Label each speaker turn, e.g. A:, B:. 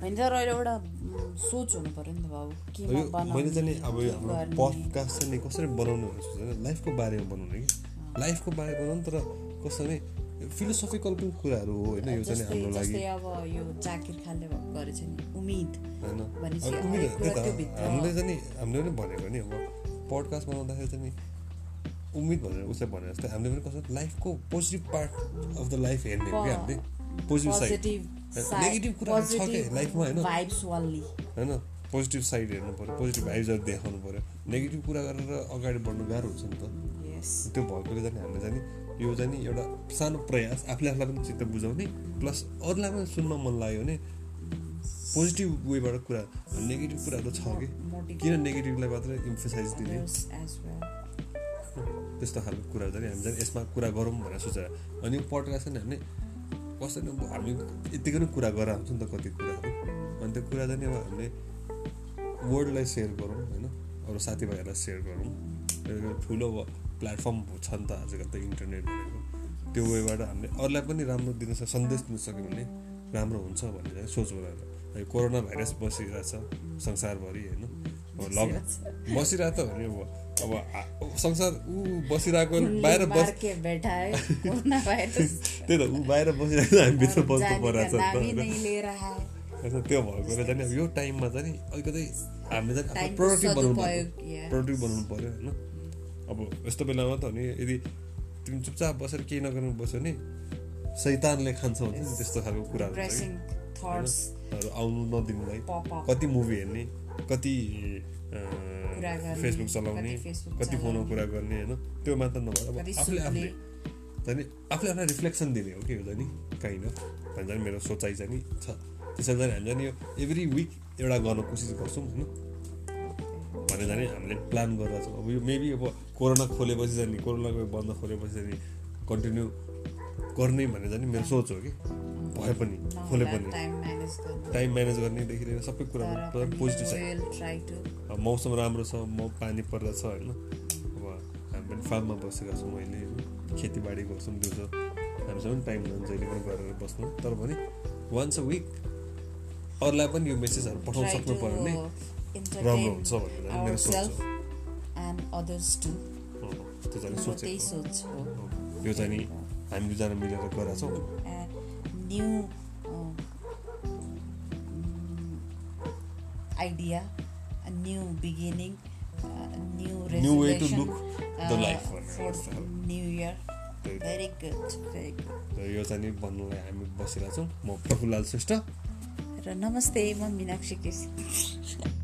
A: तर अहिले एउटा म, सोच हुनु पऱ्यो नि त बाबु के
B: यो
A: बनाउने,
B: मैले चाहिँ नि अब यो हाम्रो
A: गर्ने।
B: पडकास्ट चाहिँ नि कसरी बनाउनु भनेर सोचेको लाइफको बारेमा बनाउने कि लाइफको बारेमा बनाउनु तर कस्तो भने फिलोसफिकल पनि कुराहरू हो होइन यो चाहिँ नि
A: जस्तै
B: हाम्रो लागि
A: जस्तै अब यो जाकिर खानले भएको गरेछ नि उम्मिद
B: होइन
A: भनेपछि
B: अब उनीहरू-
A: हरेक कुरा
B: त्यही त,
A: त्योभित्र-
B: हामीले चाहिँ नि हामीले पनि भनेको नि अब पडकास्ट बनाउँदाखेरि चाहिँ नि उम्मिद भनेर उसले भने जस्तै हामीले पनि कस्तो लाइफको positive part of the life हेर्ने हो कि हामीले positive side
A: positive side-
B: negative कुराहरू छ कि
A: पोजिटिभ
B: लाइफमा होइन
A: भाइब्स वाली
B: होइन पोजिटिभ साइड हेर्नु पऱ्यो पोजिटिभ भाइब्सहरू देखाउनु पऱ्यो नेगेटिभ कुरा गरेर अगाडि बढ्नु गाह्रो हुन्छ नि त
A: यस
B: त्यो भएकोले झन् हामीले झन् यो झन् एउटा सानो प्रयास आफूले आफूलाई पनि चित्त बुझाउने प्लस अरूलाई पनि सुन्न मन लाग्यो भने पोजिटिभ वेबाट कुरा नेगेटिभ कुराहरू छ कि
A: मोटिभ
B: किन नेगेटिभलाई मात्र इम्फोसाइज दिने
A: एज वेल
B: त्यस्तो खालको कुराहरू झन् हामी झन् यसमा कुरा गरौँ भनेर सोचेर अनि यो पडकास्ट चाहिँ हामीले कसरी अब हामी यत्तिकै नै कुरा गरेर हुन्छ नि त कति कुराहरू अनि त्यो कुरा चाहिँ नि अब हामीले वर्ल्डलाई सेयर गरौँ होइन अरू साथीभाइहरूलाई सेयर गरौँ यो ठुलो अब प्लेटफर्म छ नि त आजकल त इन्टरनेट भनेको त्यो वेबाट हामीले अरूलाई पनि राम्रो दिन सक्यो सन्देश दिन सक्यो भने राम्रो हुन्छ भनेर चाहिँ सोच बनाएर यो कोरोना भाइरस बसिरहेछ संसारभरि होइन अब लक बसिरहेको त हो नि अब अब आ- संसार ऊ बसिरहेको बाहिर बस
A: मार्के बैठा है कोरोना भाइरस
B: त्यही त ऊ बाहिर बसिरहेको हामी भित्र बस्नु
A: जाने
B: परिरहेछ
A: का नाम ही
B: नि त
A: नहीं ले रहा है
B: होइन त्यो भएकोले चाहिँ अब यो टाइममा चाहिँ नि अलिकति हामीले चाहिँ आफ्नो
A: टाइमको
B: प्रोडक्टिभ बनाउनु पऱ्यो
A: सदुपयोग, yeah.
B: प्रोडक्टिभ बनाउनु पऱ्यो होइन अब यस्तो बेलामा त हो नि यदि तिमी चुपचाप बसेर केही नगर्नु बस्यो भने सैतानले खान्छ भन्छ नि त्यस्तो खालको कुराहरू चाहिँ कि।
A: ड्रेसिङ थट्स
B: हरू आउनु नदिनुलाई
A: Pop up.
B: कति मुभी हेर्ने कति अ,
A: कुरा गर्ने,
B: फेसबुक चलाउने
A: कति Facebook
B: कति फोनमा
A: चलाउने।
B: कुरा गर्ने होइन त्यो मात्र नभएर अब
A: कति सुत्ने।
B: आफूले आफूले झन् आफूले आफूलाई रिफ्लेक्सन दिने हो कि हो नि काइन्ड अफ भन्छ नि मेरो सोचाइ चाहिँ नि छ त्यसरी चाहिँ हामी झन् यो एभ्री विक एउटा गर्न कोसिस गर्छौँ होइन भने झन् हामीले प्लान गरेर छौँ अब यो मेबी अब कोरोना खोलेपछि चाहिँ नि कोरोनाको बन्द खोलेपछि चाहिँ नि कन्टिन्यू गर्ने भन्ने चाहिँ नि मेरो सोच हो कि भए पनि
A: नहोला
B: खोले पनि
A: टाइम म्यानेज गर्नु
B: टाइम म्यानेज गर्नेदेखि लिएर सबै
A: तर
B: कुरामा
A: पनि
B: पोजिटिभ छ
A: will try to
B: अब मौसम राम्रो छ म पानी पर्दा छ होइन अब हामी पनि फार्ममा बसेका छौँ अहिले होइन? खेतीबारी गर्छौँ दिउँसो हामीसँग पनि टाइम हुँदैन जहिले पनि गरेर बस्नु तर भने वान्स अ विक अरूलाई पनि यो मेसेजहरू पठाउन
A: try
B: सक्नु
A: to
B: पऱ्यो भने राम्रो हुन्छ भनेर
A: entertain
B: चाहिँ मेरो सोच
A: ourselves and others too
B: हो अँ, त्यो चाहिँ
A: मेरो त्यही
B: सोचेको हो।
A: सोच हो
B: अँ, यो चाहिँ नि हामी दुईजना मिलेर गराएको छौँ
A: new um, idea new beginning new
B: New way to look the
A: uh,
B: life भनेर
A: फर
B: जस्तो खालको।
A: न्यू इयर
B: त्यही त।
A: भेरी गुड भेरी गुड
B: र यो चाहिँ नि भन्नुलाई हामी बसिरहेको छौँ म प्रफुल्लाल श्रेष्ठ
A: र नमस्ते म मिनाक्षी केसी